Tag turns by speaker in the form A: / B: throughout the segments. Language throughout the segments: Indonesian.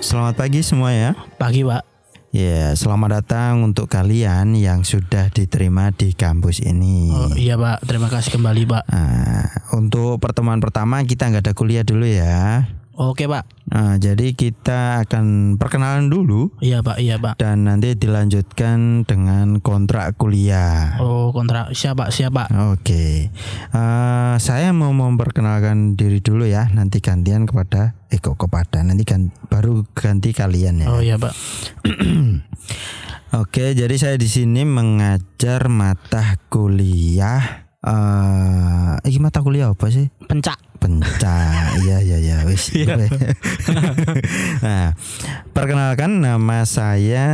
A: Selamat pagi semua ya.
B: Pagi Pak.
A: Ya, selamat datang untuk kalian yang sudah diterima di kampus ini.
B: Oh, iya Pak, terima kasih kembali Pak.
A: Nah, untuk pertemuan pertama kita nggak ada kuliah dulu ya.
B: Oke Pak.
A: Nah, jadi kita akan perkenalan dulu
B: Iya Pak, iya Pak.
A: dan nanti dilanjutkan dengan kontrak kuliah.
B: Oh kontrak siapa siapa?
A: Oke, Eh, saya mau memperkenalkan diri dulu ya. Nanti gantian kepada Eko kepada nanti gan- baru ganti kalian ya.
B: Oh iya Pak.
A: Oke, jadi saya di sini mengajar mata kuliah. Eh, ini mata kuliah apa sih?
B: Pencak.
A: Penca. iya iya iya wis. nah, perkenalkan nama saya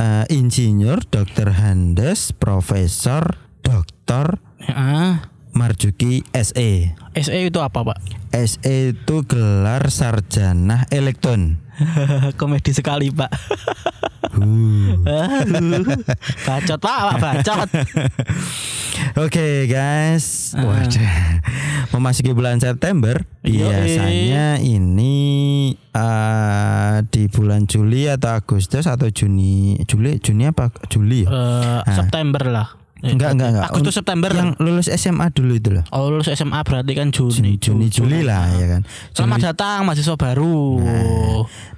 A: eh, Insinyur Dr. Handes Profesor Dr.
B: Ah,
A: Marjuki SE.
B: SE E itu apa Pak?
A: SE E itu gelar sarjana elektron.
B: Komedi sekali Pak.
A: Hmm.
B: Aduh. bacot Pak, Pak bacot.
A: Oke guys, waduh, memasuki bulan September
B: Ah. Yoi.
A: biasanya ini eh, di bulan Juli atau Agustus atau Juni, Juli, Juni apa Juli? ya?
B: Eh, September lah. Eh,
A: Enggak, enggak, enggak.
B: Agustus September.
A: Yang lulus SMA dulu itu loh,
B: Oh lulus SMA berarti kan Juni.
A: Juni, Juni, Juli lah ya kan.
B: Selamat datang mahasiswa baru.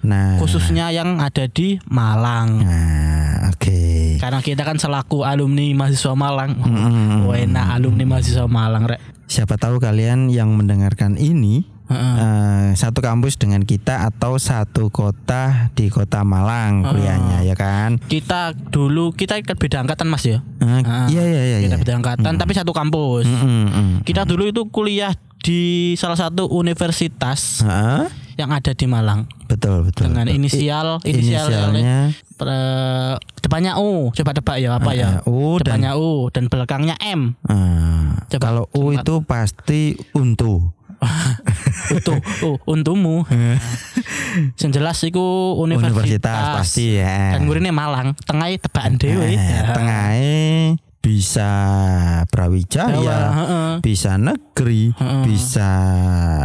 A: Nah,
B: Khususnya yang ada di Malang.
A: nah, oke.
B: Karena kita kan selaku alumni mahasiswa Malang.
A: Mm-mm.
B: Wah enak alumni mahasiswa Malang rek.
A: Siapa tahu kalian yang mendengarkan ini
B: Heeh.
A: eh, satu kampus dengan kita atau satu kota di kota Malang kuliahnya ya kan?
B: Kita dulu kita kan beda angkatan Mas ya.
A: Eh,
B: Ah,
A: Iya iya iya.
B: Kita
A: iya.
B: beda angkatan tapi satu kampus.
A: Mm, mm.
B: Kita dulu itu kuliah di salah satu universitas
A: Heeh,
B: yang ada di Malang
A: betul betul.
B: dengan
A: betul.
B: inisial
A: Ah. I-
B: inisial
A: inisialnya
B: eh, depannya U. Coba tebak ya apa ya?
A: eh, U dan
B: Depannya U dan belakangnya M.
A: eh,
B: Coba,
A: kalau U
B: coba.
A: itu pasti untu.
B: Utuh, oh, untumu. Yang jelas iku universitas, Kan
A: Universitas pasti ya.
B: Dan gurine Malang, tengah ya, tebakan
A: Eh,
B: dhewe.
A: tengahnya bisa Brawijaya,
B: Heeh.
A: bisa negeri, bisa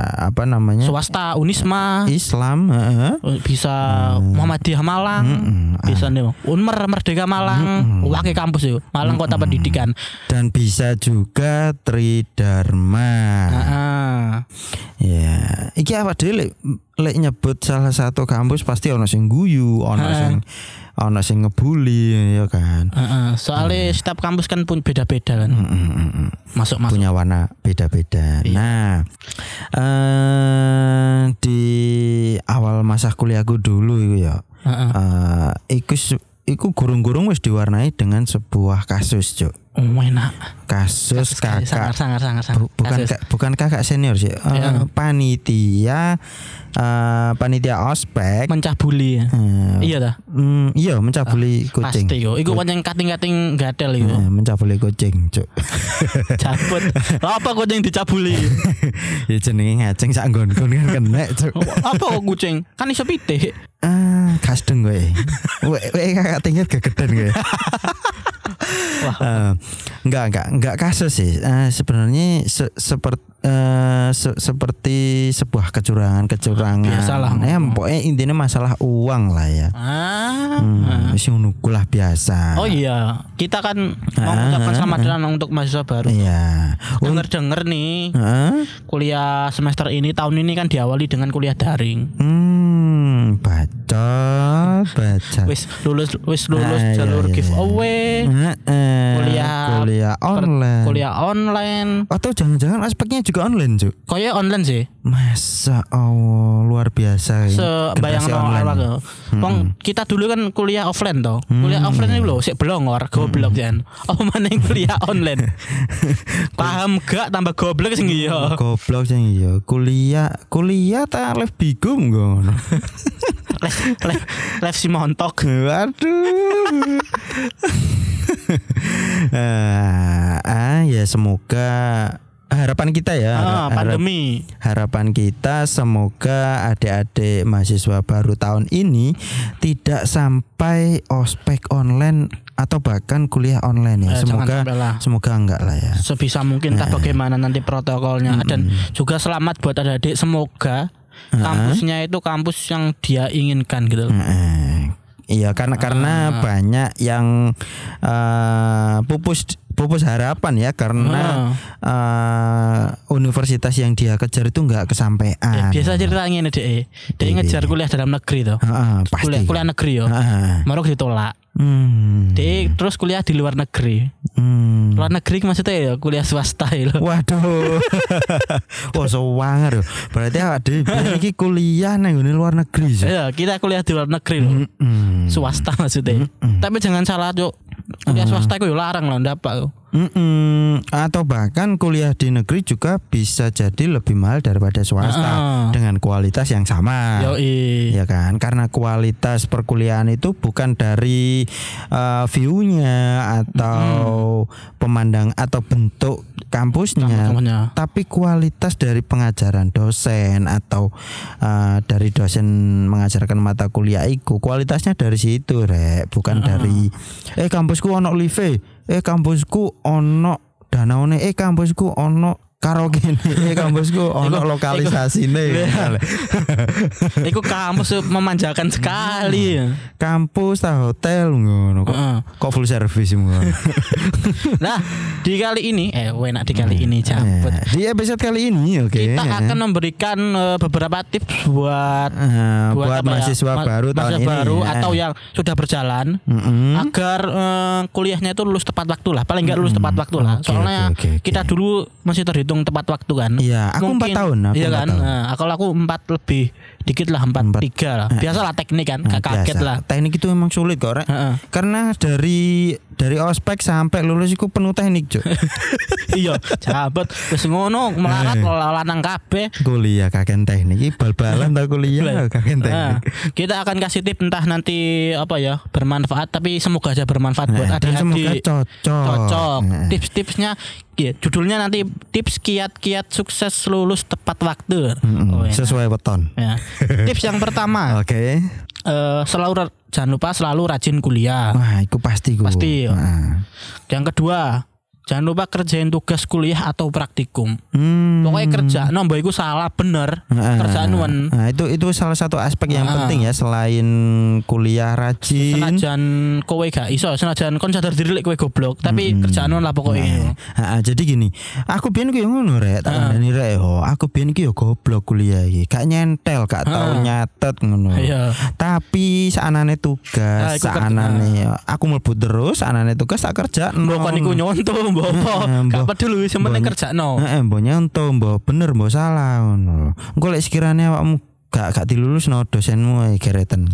A: apa namanya?
B: Swasta Unisma.
A: Iya. Islam, heeh.
B: bisa
A: Hmm.
B: Muhammadiyah Malang,
A: Ah.
B: bisa nih Unmer Merdeka
A: Hmm,
B: Malang, wakil kampus yo, Malang Kota Pendidikan.
A: dan bisa juga Tridharma.
B: Ah, Heeh.
A: Ya, iki apa dhewe lek lek nyebut salah satu kampus pasti ono sing guyu, ono sing ono sing ngebully ya kan.
B: Heeh. soalnya setiap kampus kan pun beda-beda kan.
A: Mm, mm, mm, mm.
B: Masuk masuk.
A: Punya warna beda-beda. Nah, eh di awal masa kuliahku dulu iku ya.
B: Heeh.
A: eh, iku se- iku gurung-gurung wis diwarnai dengan sebuah kasus, Cuk.
B: Oh, enak.
A: Kasus,
B: Sekali,
A: kakak
B: Sangar sangar sangar sangar.
A: Bu- bukan
B: Kasus.
A: ka- bukan kakak senior sih. Eh,
B: Ya.
A: panitia eh, panitia ospek
B: mencah bully ya.
A: Eh,
B: Iya dah.
A: Mm, iya mencabuli kucing.
B: Pasti yo. Iku pancen kating-kating gadel yo.
A: Eh, mencabuli kucing, cuk.
B: Cabut. Lah apa kucing dicabuli?
A: ya jenenge ngaceng sak nggon-nggon kan kena, cuk.
B: apa kok kucing? Kan iso pitik.
A: Ah, kasdeng kowe. Kowe kowe kakak tingkat gegeden kowe.
B: Wah.
A: Eh, enggak enggak enggak kasus sih. Eh, sebenarnya seperti seperti sebuah kecurangan-kecurangan.
B: Biasalah.
A: Ya, pokoknya intinya masalah uang lah ya.
B: Ah.
A: Hmm, wis ngono kulah biasa.
B: Oh iya, kita kan mau mengucapkan selamat datang untuk mahasiswa baru.
A: Ah. Iya. Ah.
B: Dengar-dengar nih,
A: Heeh.
B: kuliah semester ini tahun ini kan diawali dengan kuliah daring.
A: Hmm, bacot, bacot.
B: Wis lulus wis lulus
A: Ah, iya,
B: jalur
A: iya,
B: giveaway,
A: Heeh.
B: kuliah-
A: kuliah
B: per-
A: online.
B: kuliah online.
A: Atau jangan-jangan aspeknya juga online, Cuk.
B: Koyo online sih.
A: Masa Allah, luar biasa ya.
B: Sebayang
A: Generasi Hmm.
B: no awak ke. Wong kita dulu kan kuliah offline toh. Kuliah offline ini lho sik belongor,
A: Hmm.
B: goblok jan. Oh mana yang kuliah online. Paham gak tambah goblok sing iya.
A: Oh, Goblok sing iya. Kuliah, kuliah ta lef bigum ngono.
B: Live live live si montok.
A: Waduh. Eh, ah, ya semoga harapan kita ya.
B: Ah,
A: har- harap-
B: pandemi.
A: Harapan kita semoga adik-adik mahasiswa baru tahun ini tidak sampai ospek online atau bahkan kuliah online ya.
B: Eh, jangan
A: semoga
B: sampai lah.
A: semoga enggak lah ya.
B: sebisa mungkin entah bagaimana nanti protokolnya dan juga selamat buat adik-adik semoga kampusnya itu kampus yang dia inginkan gitu loh.
A: Heeh. Iya karena karena
B: Ah.
A: banyak yang eh, pupus pupus harapan ya
B: Ah.
A: karena eh, universitas yang dia kejar itu nggak
B: Ya,
A: kesampaian.
B: biasa ceritanya ini deh. Dia ngejar kuliah dalam negeri tuh.
A: Iya, Heeh, pasti.
B: Kuliah kuliah negeri yo.
A: Heeh.
B: Marok ditolak.
A: Hmm,
B: Dia terus kuliah di luar negeri.
A: hmm.
B: Luar negeri maksudnya ya kuliah swasta ya. loh.
A: Waduh. Wah, sewanger. Berarti ada iki kuliah nang ngene luar negeri. sih.
B: Iya, kita kuliah di luar negeri loh.
A: Mm-mm.
B: Swasta maksudnya. Tapi jangan salah, Cuk. Kuliah swasta itu ya larang loh, dapat.
A: Mm-mm. Atau bahkan kuliah di negeri juga bisa jadi lebih mahal daripada swasta
B: Ah.
A: dengan kualitas yang sama.
B: Yo,
A: Ya
B: iya.
A: kan, karena kualitas perkuliahan itu bukan dari eh, view-nya atau pemandang atau bentuk kampusnya,
B: Kampusnya.
A: tapi kualitas dari pengajaran dosen atau eh, dari dosen mengajarkan mata kuliah itu kualitasnya dari situ rek, bukan dari eh kampusku ono live, eh kampusku ono danaone, eh kampusku ono karaoke eh kampusku ono
B: Iya.
A: lokalisasine. Iya.
B: Iku kampus tuh memanjakan sekali.
A: Hmm. kampus ta hotel ngono kok
B: Heeh.
A: kok full service ngono.
B: Nah, di kali ini eh enak di kali ini cabut.
A: Ya, Di episode kali ini oke. ya.
B: Kita akan memberikan eh, beberapa tips buat
A: Eh, buat,
B: apa ya?
A: mahasiswa
B: Ma-
A: baru tahun
B: mahasiswa
A: ini. Hmm.
B: baru
A: Eh,
B: atau ya? yang sudah berjalan
A: mm-mm.
B: agar eh, kuliahnya itu lulus tepat waktu lah. Paling enggak lulus tepat waktu lah.
A: Hmm. Oke,
B: Soalnya
A: oke, oke, oke.
B: kita dulu masih terhitung tepat waktu kan.
A: Iya, aku empat tahun, aku
B: iya
A: empat
B: kan.
A: tahun.
B: Nah, kalau aku empat lebih dikit lah empat, tiga lah. Biasalah teknik kan.
A: Nah,
B: nggak kaget
A: biasa.
B: lah.
A: Teknik itu memang sulit kok, Rek.
B: Heeh.
A: Karena dari dari ospek sampai lulus itu penuh teknik, Cuk.
B: iya jabat wis ngono melarat
A: Eh.
B: lanang kabeh
A: kuliah kakek teknik, Ih, bal-balan tak kuliah kakek teknik.
B: Nah, kita akan kasih tips entah nanti apa ya bermanfaat tapi semoga aja bermanfaat buat
A: Nah, dan semoga
B: adik-adik
A: cocok.
B: cocok
A: Nah.
B: tips-tipsnya ya, judulnya nanti tips kiat-kiat sukses lulus tepat waktu
A: Mm-mm,
B: Oh, Ah. ya.
A: Sesuai weton.
B: Ya. tips yang pertama
A: Oke.
B: eh, selalu ra- jangan lupa selalu rajin kuliah
A: Wah, itu pasti gue.
B: Pasti.
A: Nah.
B: yang kedua jangan lupa kerjain tugas kuliah atau praktikum
A: Hmm.
B: pokoknya kerja nombo itu salah bener
A: Ah,
B: kerjaan wen
A: Nah, itu itu salah satu aspek yang
B: Ah.
A: penting ya selain kuliah rajin.
B: senajan kowe gak iso senajan kon sadar diri lek kowe goblok tapi kerjaan on lah pokoknya
A: Ah, ah, jadi gini, aku biyen ku yo ngono rek, tak kandhani rek ho. Aku biyen ku yo goblok kuliah iki, gak nyentel, gak tau nyatet ngono.
B: Iya.
A: Tapi saanane
B: Ah,
A: tugas,
B: iku kerja-
A: saanane aku mlebu terus, saanane tugas tak kerja.
B: mbok kon iku nyonto mbok apa
A: Heeh,
B: gak
A: mbok.
B: peduli sing penting
A: Mbok.
B: kerjakno
A: Heeh, mbok nyonto, mbok bener, mbok salah ngono. Engko lek sekiranya awakmu gak gak dilulus no dosenmu eh, gereten.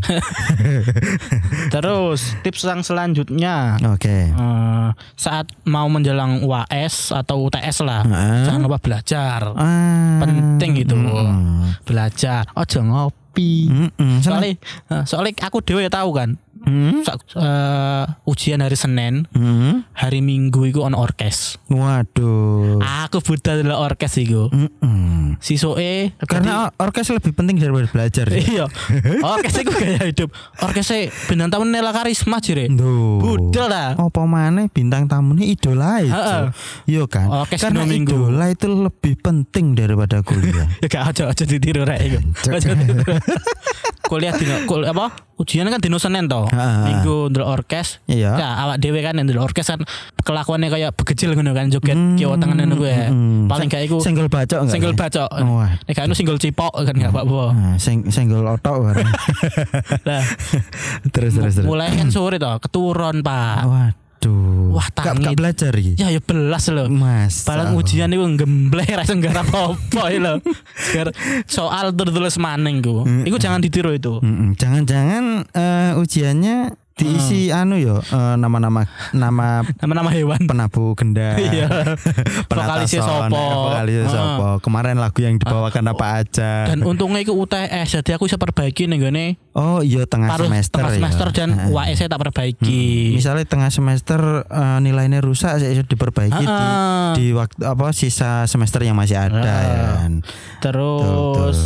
B: terus tips yang selanjutnya
A: Oke.
B: eh, saat mau menjelang UAS atau UTS lah
A: Heeh.
B: jangan lupa belajar
A: Ah.
B: penting itu
A: Mm-mm.
B: belajar ojo ngopi
A: Mm-mm.
B: soalnya eh, soalnya aku dewe ya tahu kan
A: Hmm?
B: Sa- eh, ujian hari Senin
A: Hmm?
B: hari Minggu iku ono orkes
A: Waduh.
B: aku buta adalah orkes iku
A: Mm-mm.
B: sisoke
A: Karena or- orkes lebih penting daripada belajar. ya?
B: iya orkes iku gaya hidup orkes e bintang tamu Nela Karisma jire
A: Duh.
B: budal lah
A: Apa mana bintang tamunya idola itu.
B: Heeh.
A: Iya kan?
B: Orkes
A: Karena
B: dua minggu.
A: idola itu lebih penting daripada kuliah.
B: ya gak aja aja ditiru rek iku Aja ditiru. kuliah dino kul, apa ujian kan dino Senin to
A: Heeh.
B: minggu ndelok orkes
A: Iya.
B: Ya, awak dhewe kan yang ndelok orkes kan kelakuannya kayak begejil ngono kan joget
A: Hmm,
B: kiwa tangan ngono kuwi. Paling gak iku
A: Senggol bacok hmm. enggak? Oh.
B: single bacok.
A: Wah.
B: Nek gak ono single cipok kan gak apa-apa.
A: Nah, sing- senggol otok bareng.
B: Lah,
A: terus terus terus.
B: mulai kan sore to, keturun, Pak.
A: Waduh.
B: Wah,
A: Gak-
B: tangi.
A: gak belajar iki.
B: Ya ya belas loh.
A: Mas.
B: Balang ujian itu ngembleh rasa nggak apa-apa ya lho. Segar- Soal tertulis maning ku. Iku jangan ditiru itu.
A: Mm-mm. Jangan-jangan eh, ujiannya diisi
B: Hmm.
A: anu yo eh, nama-nama nama
B: Nama-nama hewan.
A: penabu gendang.
B: Iya.
A: Penatason,
B: Vokalisnya sopo.
A: eh, Vokalisnya
B: Ah.
A: sopo. Kemarin lagu yang dibawakan apa aja.
B: Dan untungnya iku UTS jadi aku bisa perbaiki nih gini.
A: oh iya tengah
B: Paruh
A: semester.
B: tengah
A: ya.
B: semester dan
A: Ah, ah.
B: UAS saya tak perbaiki.
A: Misalnya tengah semester eh, nilainya rusak saya bisa diperbaiki
B: Ah,
A: di,
B: ah.
A: di waktu apa sisa semester yang masih ada.
B: Ah.
A: ya kan. Betul,
B: Terus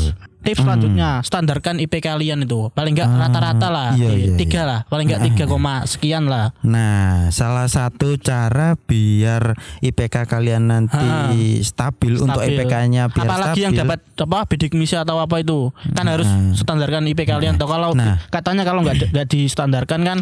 B: tips selanjutnya standarkan IP kalian itu paling enggak rata-rata lah
A: iya, iya,
B: tiga lah paling enggak tiga koma sekian lah
A: Nah, salah satu cara biar IPK kalian nanti stabil, untuk
B: Ah. Stabil.
A: IPK-nya biar
B: apalagi
A: stabil.
B: yang dapat apa bidik misi atau apa itu kan harus standarkan IP kalian Toh kalau
A: Nah.
B: katanya kalau nggak nggak distandarkan kan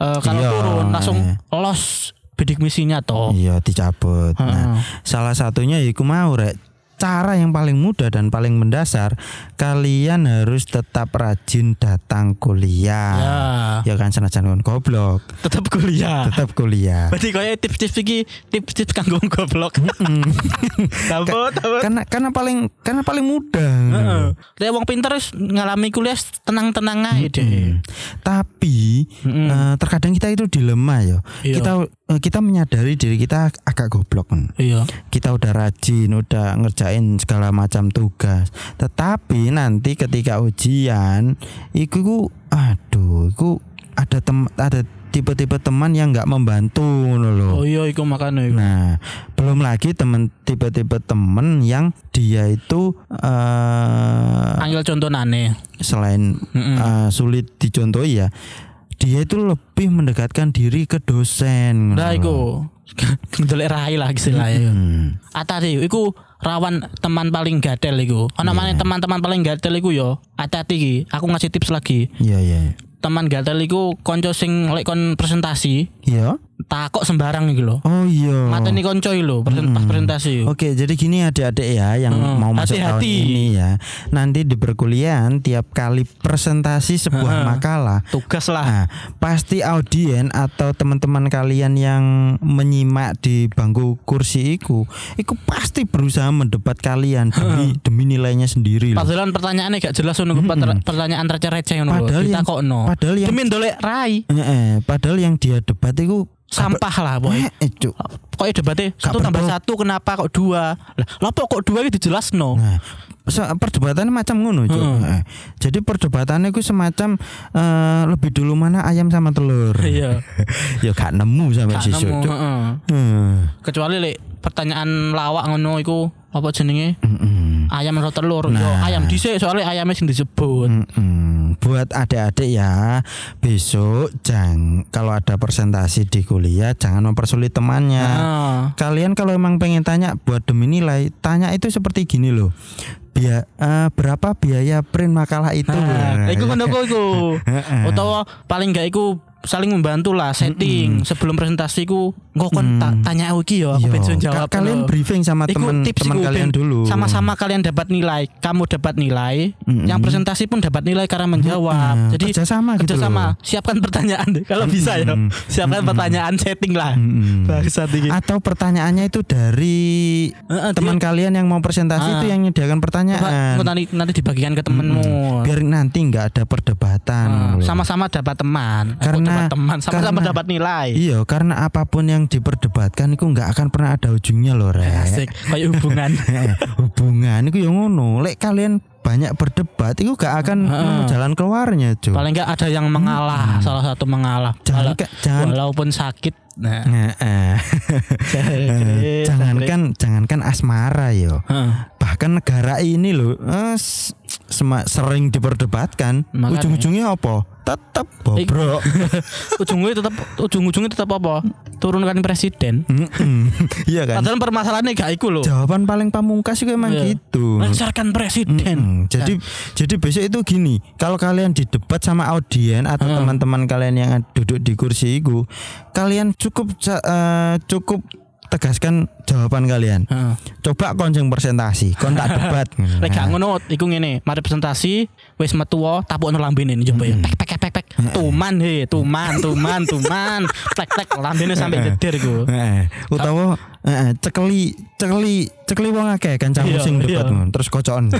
B: eh, kalau
A: Iya.
B: turun langsung lolos bidik misinya toh
A: Iya, dicabut.
B: Ah.
A: Nah, salah satunya iku mau rek cara yang paling mudah dan paling mendasar kalian harus tetap rajin datang kuliah. Ya, kan senajan kon goblok,
B: tetap kuliah
A: tetap kuliah.
B: berarti kayak tips-tips iki tips-tips kanggo goblok tabot tabot
A: karena karena paling karena paling mudah. Mm.
B: Lah wong pinter wis ngalami kuliah tenang-tenang aja deh.
A: Tapi eh, terkadang kita itu dilema ya.
B: Iya.
A: Kita eh, kita menyadari diri kita agak goblok. kan.
B: Iya.
A: Kita udah rajin, udah ngerjain segala macam tugas. Tetapi nanti ketika ujian, iku iku, aduh, iku ada tem ada tipe-tipe teman yang nggak membantu ngono lho.
B: Oh iya iku makane iku.
A: Nah, belum lagi temen tipe-tipe temen yang dia itu eh
B: Angel contonane.
A: selain eh, sulit dicontohi ya dia itu lebih mendekatkan diri ke dosen
B: Lah iku ndelek rai lah istilahnya.
A: Hmm.
B: Atati iku rawan teman paling gatel iku.
A: Iya.
B: Ana maneh teman-teman paling gatel iku yo. Atati iki, aku ngasih tips lagi.
A: iya iya
B: Teman gatel iku konco sing lek kon presentasi
A: iya
B: takok sembarang iki lho.
A: oh Hmm. iya
B: Mateni konco iki lho presen- pas presentasi. iku.
A: Oke, jadi gini adik-adik ya yang
B: Hmm,
A: mau masuk tahun
B: Iya. hati-hati.
A: ini ya. Nanti di perkuliahan tiap kali presentasi sebuah makalah,
B: Tugas lah.
A: nah, pasti audien atau teman-teman kalian yang menyimak di bangku kursi iku, iku pasti berusaha mendebat kalian demi demi nilainya sendiri. loh.
B: Padahal pertanyaannya gak jelas ngono per- pertanyaan receh-receh ngono.
A: Hmm. Padahal yang-
B: Ditakokno.
A: padahal yang-
B: demi ndolek rai.
A: Eh, eh, padahal yang dia debat itu
B: Sampah lah boy.
A: eh, eh, Cuk.
B: Kok debatnya satu tambah
A: perlu.
B: satu kenapa kok dua? Lah, lopo kok dua itu jelas no.
A: Nah, se- perdebatannya macam ngono, Cuk.
B: Hmm.
A: Eh, Jadi perdebatannya itu semacam eh, lebih dulu mana ayam sama telur.
B: Iya.
A: ya gak nemu sampai
B: Gak
A: sisu,
B: nemu,
A: Cuk.
B: heeh.
A: Hmm,
B: Kecuali lek pertanyaan lawak ngono iku apa jenenge?
A: mm-mm,
B: Ayam atau telur? Yo ayam dhisik soalnya ayamnya sing disebut.
A: mm-mm. Buat adik-adik ya besok jang kalau ada presentasi di kuliah jangan mempersulit temannya.
B: Nah,
A: Kalian kalau emang pengen tanya buat demi nilai, tanya itu seperti gini loh. Bia, eh, berapa biaya print makalah itu?
B: nah, iku
A: Ya
B: ngono kok iku. Utawa paling gak iku saling membantu lah setting sebelum presentasi ku engko kon ta- tanya aku iki yo aku
A: Yo,
B: ben
A: Mm. Iya. ka-
B: jawab
A: kalian
B: lho.
A: briefing sama
B: Iku
A: teman
B: tips
A: teman
B: iku,
A: kalian
B: Ben.
A: dulu.
B: Sama-sama kalian dapat nilai, kamu dapat nilai, yang presentasi pun dapat nilai karena menjawab.
A: Mm-mm.
B: Jadi
A: Kerjasama gitu
B: kerjasama. siapkan pertanyaan deh, kalau bisa ya. Siapkan pertanyaan setting lah.
A: Mm-mm.
B: Bangsat iki.
A: Atau pertanyaannya itu dari
B: Heeh,
A: teman kalian yang mau presentasi itu yang menyediakan
B: Ah. Coba
A: pertanyaan.
B: engkau nanti nanti dibagikan ke temenmu.
A: Biar nanti nggak ada
B: Nah,
A: perdebatan. loh.
B: Sama-sama dapat teman, Aku
A: Karena-
B: dapat teman, sama-sama
A: karena-
B: dapat nilai.
A: Iya, karena apapun yang diperdebatkan itu nggak akan pernah ada ujungnya loh, Rek. Eh,
B: Asik, kayak hubungan.
A: Hubungan itu yang ngono. Lek kalian banyak berdebat itu gak akan
B: Ah.
A: nemu jalan keluarnya, Cuk.
B: Paling enggak ada yang mengalah, salah satu mengalah.
A: Jangan
B: Wala-
A: ke- jangan
B: Walaupun sakit. Nah.
A: Heeh. Eh, jangankan jangankan asmara yo.
B: Heeh.
A: Bahkan negara ini loh eh, s- sema- sering diperdebatkan.
B: Makanya.
A: Ujung-ujungnya apa? Tetap bobrok.
B: ujungnya tetap ujung-ujungnya tetap apa? Turunkan presiden.
A: Mm-mm. Iya kan?
B: Padahal permasalahannya gak iku loh.
A: Jawaban paling pamungkas juga emang
B: Iya. Nah.
A: gitu.
B: Lancarkan
A: Hmm,
B: presiden.
A: jadi jadi besok itu gini, kalau kalian didebat sama audien atau teman-teman kalian yang duduk di kursi itu, kalian cukup ca- eh, cukup tegaskan jawaban kalian.
B: Heeh.
A: Coba konjeng presentasi, kon tak debat. Nah.
B: Lek gak ngono iku ngene, mari presentasi wis metu wae, tapukno lambene ini coba ya. Pek pek pek pek. Tuman he, tuman, tuman, tuman. Tek tek lambene sampe jejer iku.
A: Heeh. Eh, Utawa heeh, cekeli cekeli cekeli wong akeh kancamu
B: Iya,
A: sing debat
B: iya.
A: ngono, terus kocokon.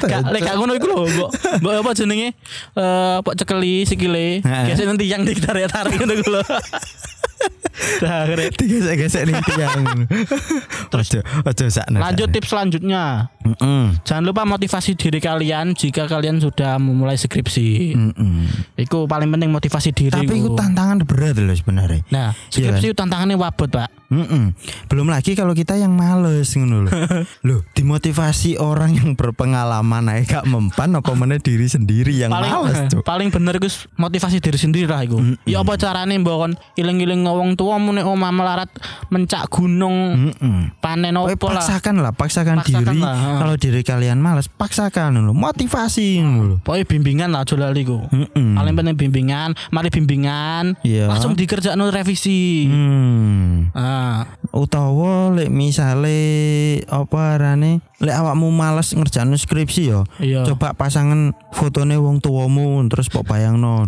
B: Gak lek gak ngono iku lho, mbok mbok apa jenenge? Eh pok cekeli sikile.
A: Heeh.
B: Gesek nanti yang ditarik-tarik ngono iku lho. Dah, keren.
A: Digesek-gesek ning tiang. Terus aja sakno.
B: Lanjut tips selanjutnya.
A: Heeh.
B: Jangan lupa motivasi diri kalian jika kalian sudah memulai skripsi.
A: Hmm.
B: Iku paling penting motivasi diri.
A: Tapi itu
B: ku.
A: tantangan berat loh sebenarnya. Iya kan?
B: Nah, skripsi tantangannya wabot, Pak.
A: Mm-mm. Belum lagi kalau kita yang males ngono lho. Loh, dimotivasi orang yang berpengalaman ae gak mempan apa meneh diri sendiri yang
B: paling eh,
A: males, Cuk. Hmm,
B: paling bener iku motivasi diri sendiri lah iku. Ya apa carane mbok kon iling-iling wong tua mune omah melarat mencak
A: Hmm.
B: gunung
A: Mm-mm.
B: panen
A: Pokoknya
B: opo lah.
A: paksakan lah, paksakan,
B: Paksakan
A: diri.
B: lah, ha.
A: Kalau diri kalian males, paksakan ngono lho. Motivasi ngono lho.
B: Pokoknya bimbingan lah aja lali iku.
A: Mm-mm.
B: Paling penting bimbingan, mari bimbingan.
A: Hmm, Iya.
B: Langsung dikerjakno revisi.
A: Hmm.
B: Ah,
A: utawa lek misale apa arane lek awakmu males ngerjain skripsi ya
B: Iya.
A: coba pasangan fotone wong tuamu terus pok bayangno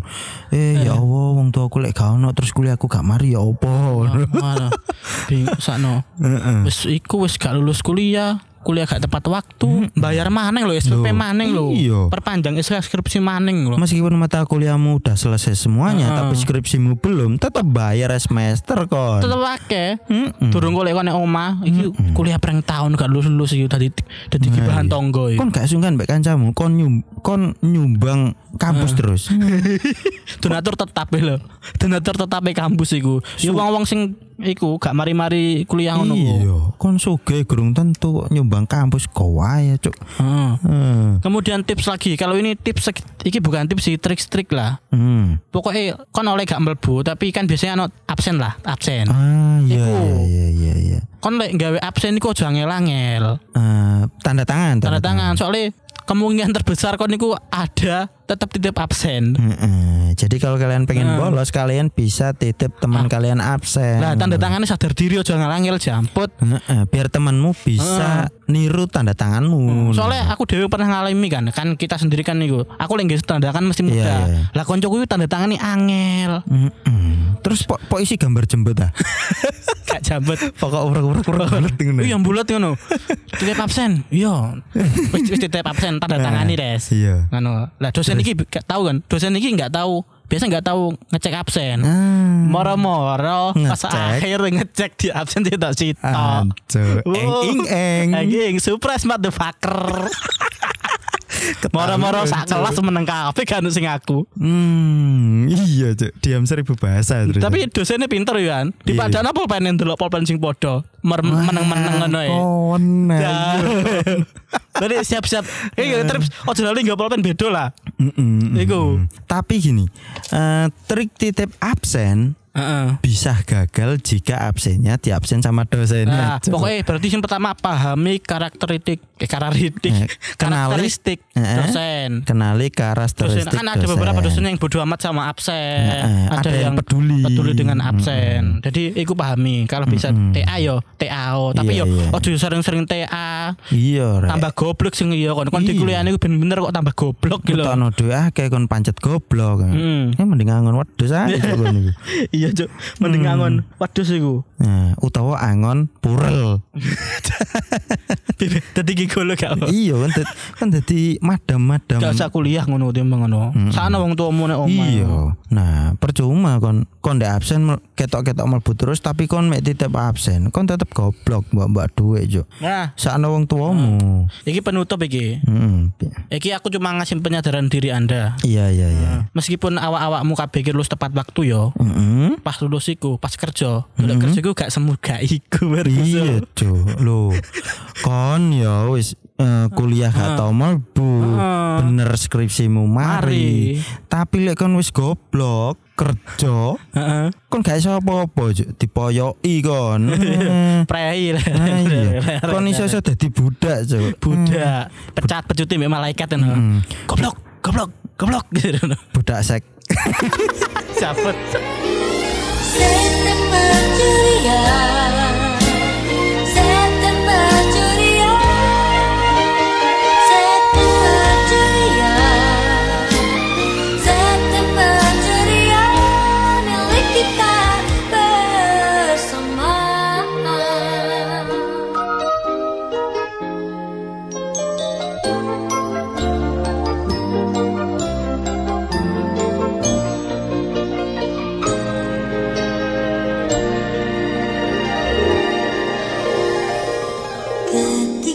A: eh ya Allah wong tuaku lek gak ono terus kuliahku gak mari ya opo
B: mana bing sakno. Wis iku wis gak lulus kuliah kuliah gak tepat waktu bayar maning lho SPP
A: Loh,
B: maning lho
A: iya.
B: perpanjang skripsi maning lho
A: meskipun mata kuliahmu udah selesai semuanya tapi skripsimu belum tetap bayar semester kon
B: tetep akeh. Durung golek kene omah, iki kuliah perang tahun gak lulus-lulus iki dadi dadi bahan tonggo
A: Nah, iya.
B: iki.
A: kon gak sungkan mbek kancamu kon nyum- kon nyumbang
B: Eh.
A: kampus terus
B: Hmm.
A: Iya.
B: Donatur tetap e lho. Donatur tetap e kampus iku. Ya wong-wong sing iku gak mari-mari kuliah ngono ku.
A: iya kon suge gerung tentu kok nyumbang kampus kowe ya cuk Hmm.
B: Heeh.
A: Heeh.
B: Kemudian tips lagi, kalau ini tips iki bukan tips sih, trik-trik lah.
A: Hmm.
B: Pokoknya kon oleh gak mlebu, tapi kan biasanya ono absen lah, absen.
A: Ah iya
B: Iku.
A: iya iya iya iya.
B: Kon lek gawe absen iku aja angel-angel.
A: Eh, tanda tangan
B: Tanda tangan, soalnya kemungkinan terbesar kon niku ada tetap titip absen.
A: Hmm. Heeh. Jadi kalau kalian pengen bolos kalian bisa titip teman kalian absen.
B: Hmm. Ah. Lah tanda tangannya sadar diri aja ngalangil jamput.
A: Heeh, biar temanmu bisa niru tanda tanganmu.
B: Ah. Hmm, Soalnya aku dewe pernah ngalami kan, kan kita sendiri kan niku. Aku lagi tanda tangan mesti muda.
A: Iya, iya.
B: Lah koncoku itu tanda tangan nih angel.
A: Heeh. Terus po, po isi gambar jembut ah.
B: Gak jambet.
A: Pokok urek-urek urek banget ngono.
B: Wih Oh, yang bulat ngono. Titip absen. Iya. Wis wis titip absen tanda tangan nih, Res.
A: Iya.
B: Ngono. Lah dosen iki gak tahu kan. Dosen iki gak tahu. Biasa gak tahu ngecek absen.
A: Ah.
B: Moro-moro pas
A: Ngecek.
B: akhir ngecek di absen tidak sitok.
A: Aduh, eng ing eng.
B: Anjing, surprise motherfucker. Moro-moro sak kelas meneng kafe kan sing aku.
A: Hmm, iya, Cuk. Diam seribu bahasa terus.
B: Tapi dosennya pinter ya kan.
A: Iya,
B: Dipadana pulpen yang delok pulpen sing podo. Mer- Meneng-meneng ngono ya.
A: Oh,
B: Dah.
A: nah.
B: Jadi siap-siap. Eh, ya, terus ojo lali nggak pulpen bedo lah.
A: Mm-mm.
B: Iku.
A: Tapi gini, eh, trik titip absen
B: Heeh.
A: bisa gagal jika absennya di absen sama dosennya.
B: Nah,
A: Cuk.
B: pokoknya berarti yang pertama pahami karakteristik, eh, karakteristik,
A: Eh, kenali.
B: karakteristik
A: Eh,
B: dosen.
A: kenali karakteristik
B: Dosen
A: dosen.
B: kan ada beberapa dosen yang bodoh amat sama absen,
A: Heeh, ada yang peduli.
B: dengan absen. Jadi iku pahami kalau bisa TA yo TAO, tapi
A: Iya,
B: yo
A: iya.
B: ojo sering-sering TA.
A: Iya, rek.
B: Tambah goblok sing yo kon kon di
A: Iya.
B: kuliahane iku bener-bener kok tambah goblok gitu loh.
A: Utano duwe akeh kon pancet goblok.
B: Hmm.
A: Eh mending angon wedhus ae Cuk, kon iku.
B: iya, Cuk.
A: Mm.
B: Mending ngangon wedhus iku.
A: Nah, utawa angon purel.
B: Bibit dadi gigolo gak apa.
A: iya, kan dad- kan dadi madam-madam.
B: Gak usah kuliah ngono timbang ngono. Sana wong tuamu nek omah.
A: Iya. Nah, percuma kon kon ndek absen mel- ketok-ketok mlebu terus tapi kon mek titip absen, kon tetep goblok mbak-mbak duwe yo.
B: Nah,
A: Sakno wong tuamu.
B: Iki penutup iki.
A: Mm-mm.
B: Iki aku cuma ngasih penyadaran diri Anda.
A: Iya iya iya.
B: Ah. Meskipun awak-awakmu kabeh iki lulus tepat waktu yo.
A: Mm-mm.
B: Pas lulus iku, pas kerja. Golek kerja iku gak semu gak
A: Iya
B: iku berarti.
A: Jo. Lho. Kon ya wis eh, kuliah
B: Ah.
A: gak tau mlebu. Bener skripsimu mari.
B: Mari.
A: Tapi lek kon wis goblok kerja,
B: Heeh.
A: kon gak iso apa-apa, Jo. dipoyoki kon. Eh,
B: Prei.
A: Nah, iya. Kon iso-iso dadi budak, Cuk.
B: Budak. Pecat pecuti mbek malaikat ngono. Goblok, goblok, goblok gitu.
A: budak sek
B: Cabut.
C: September ceria September ceria September ceria September ceria milik kita bersama Ketika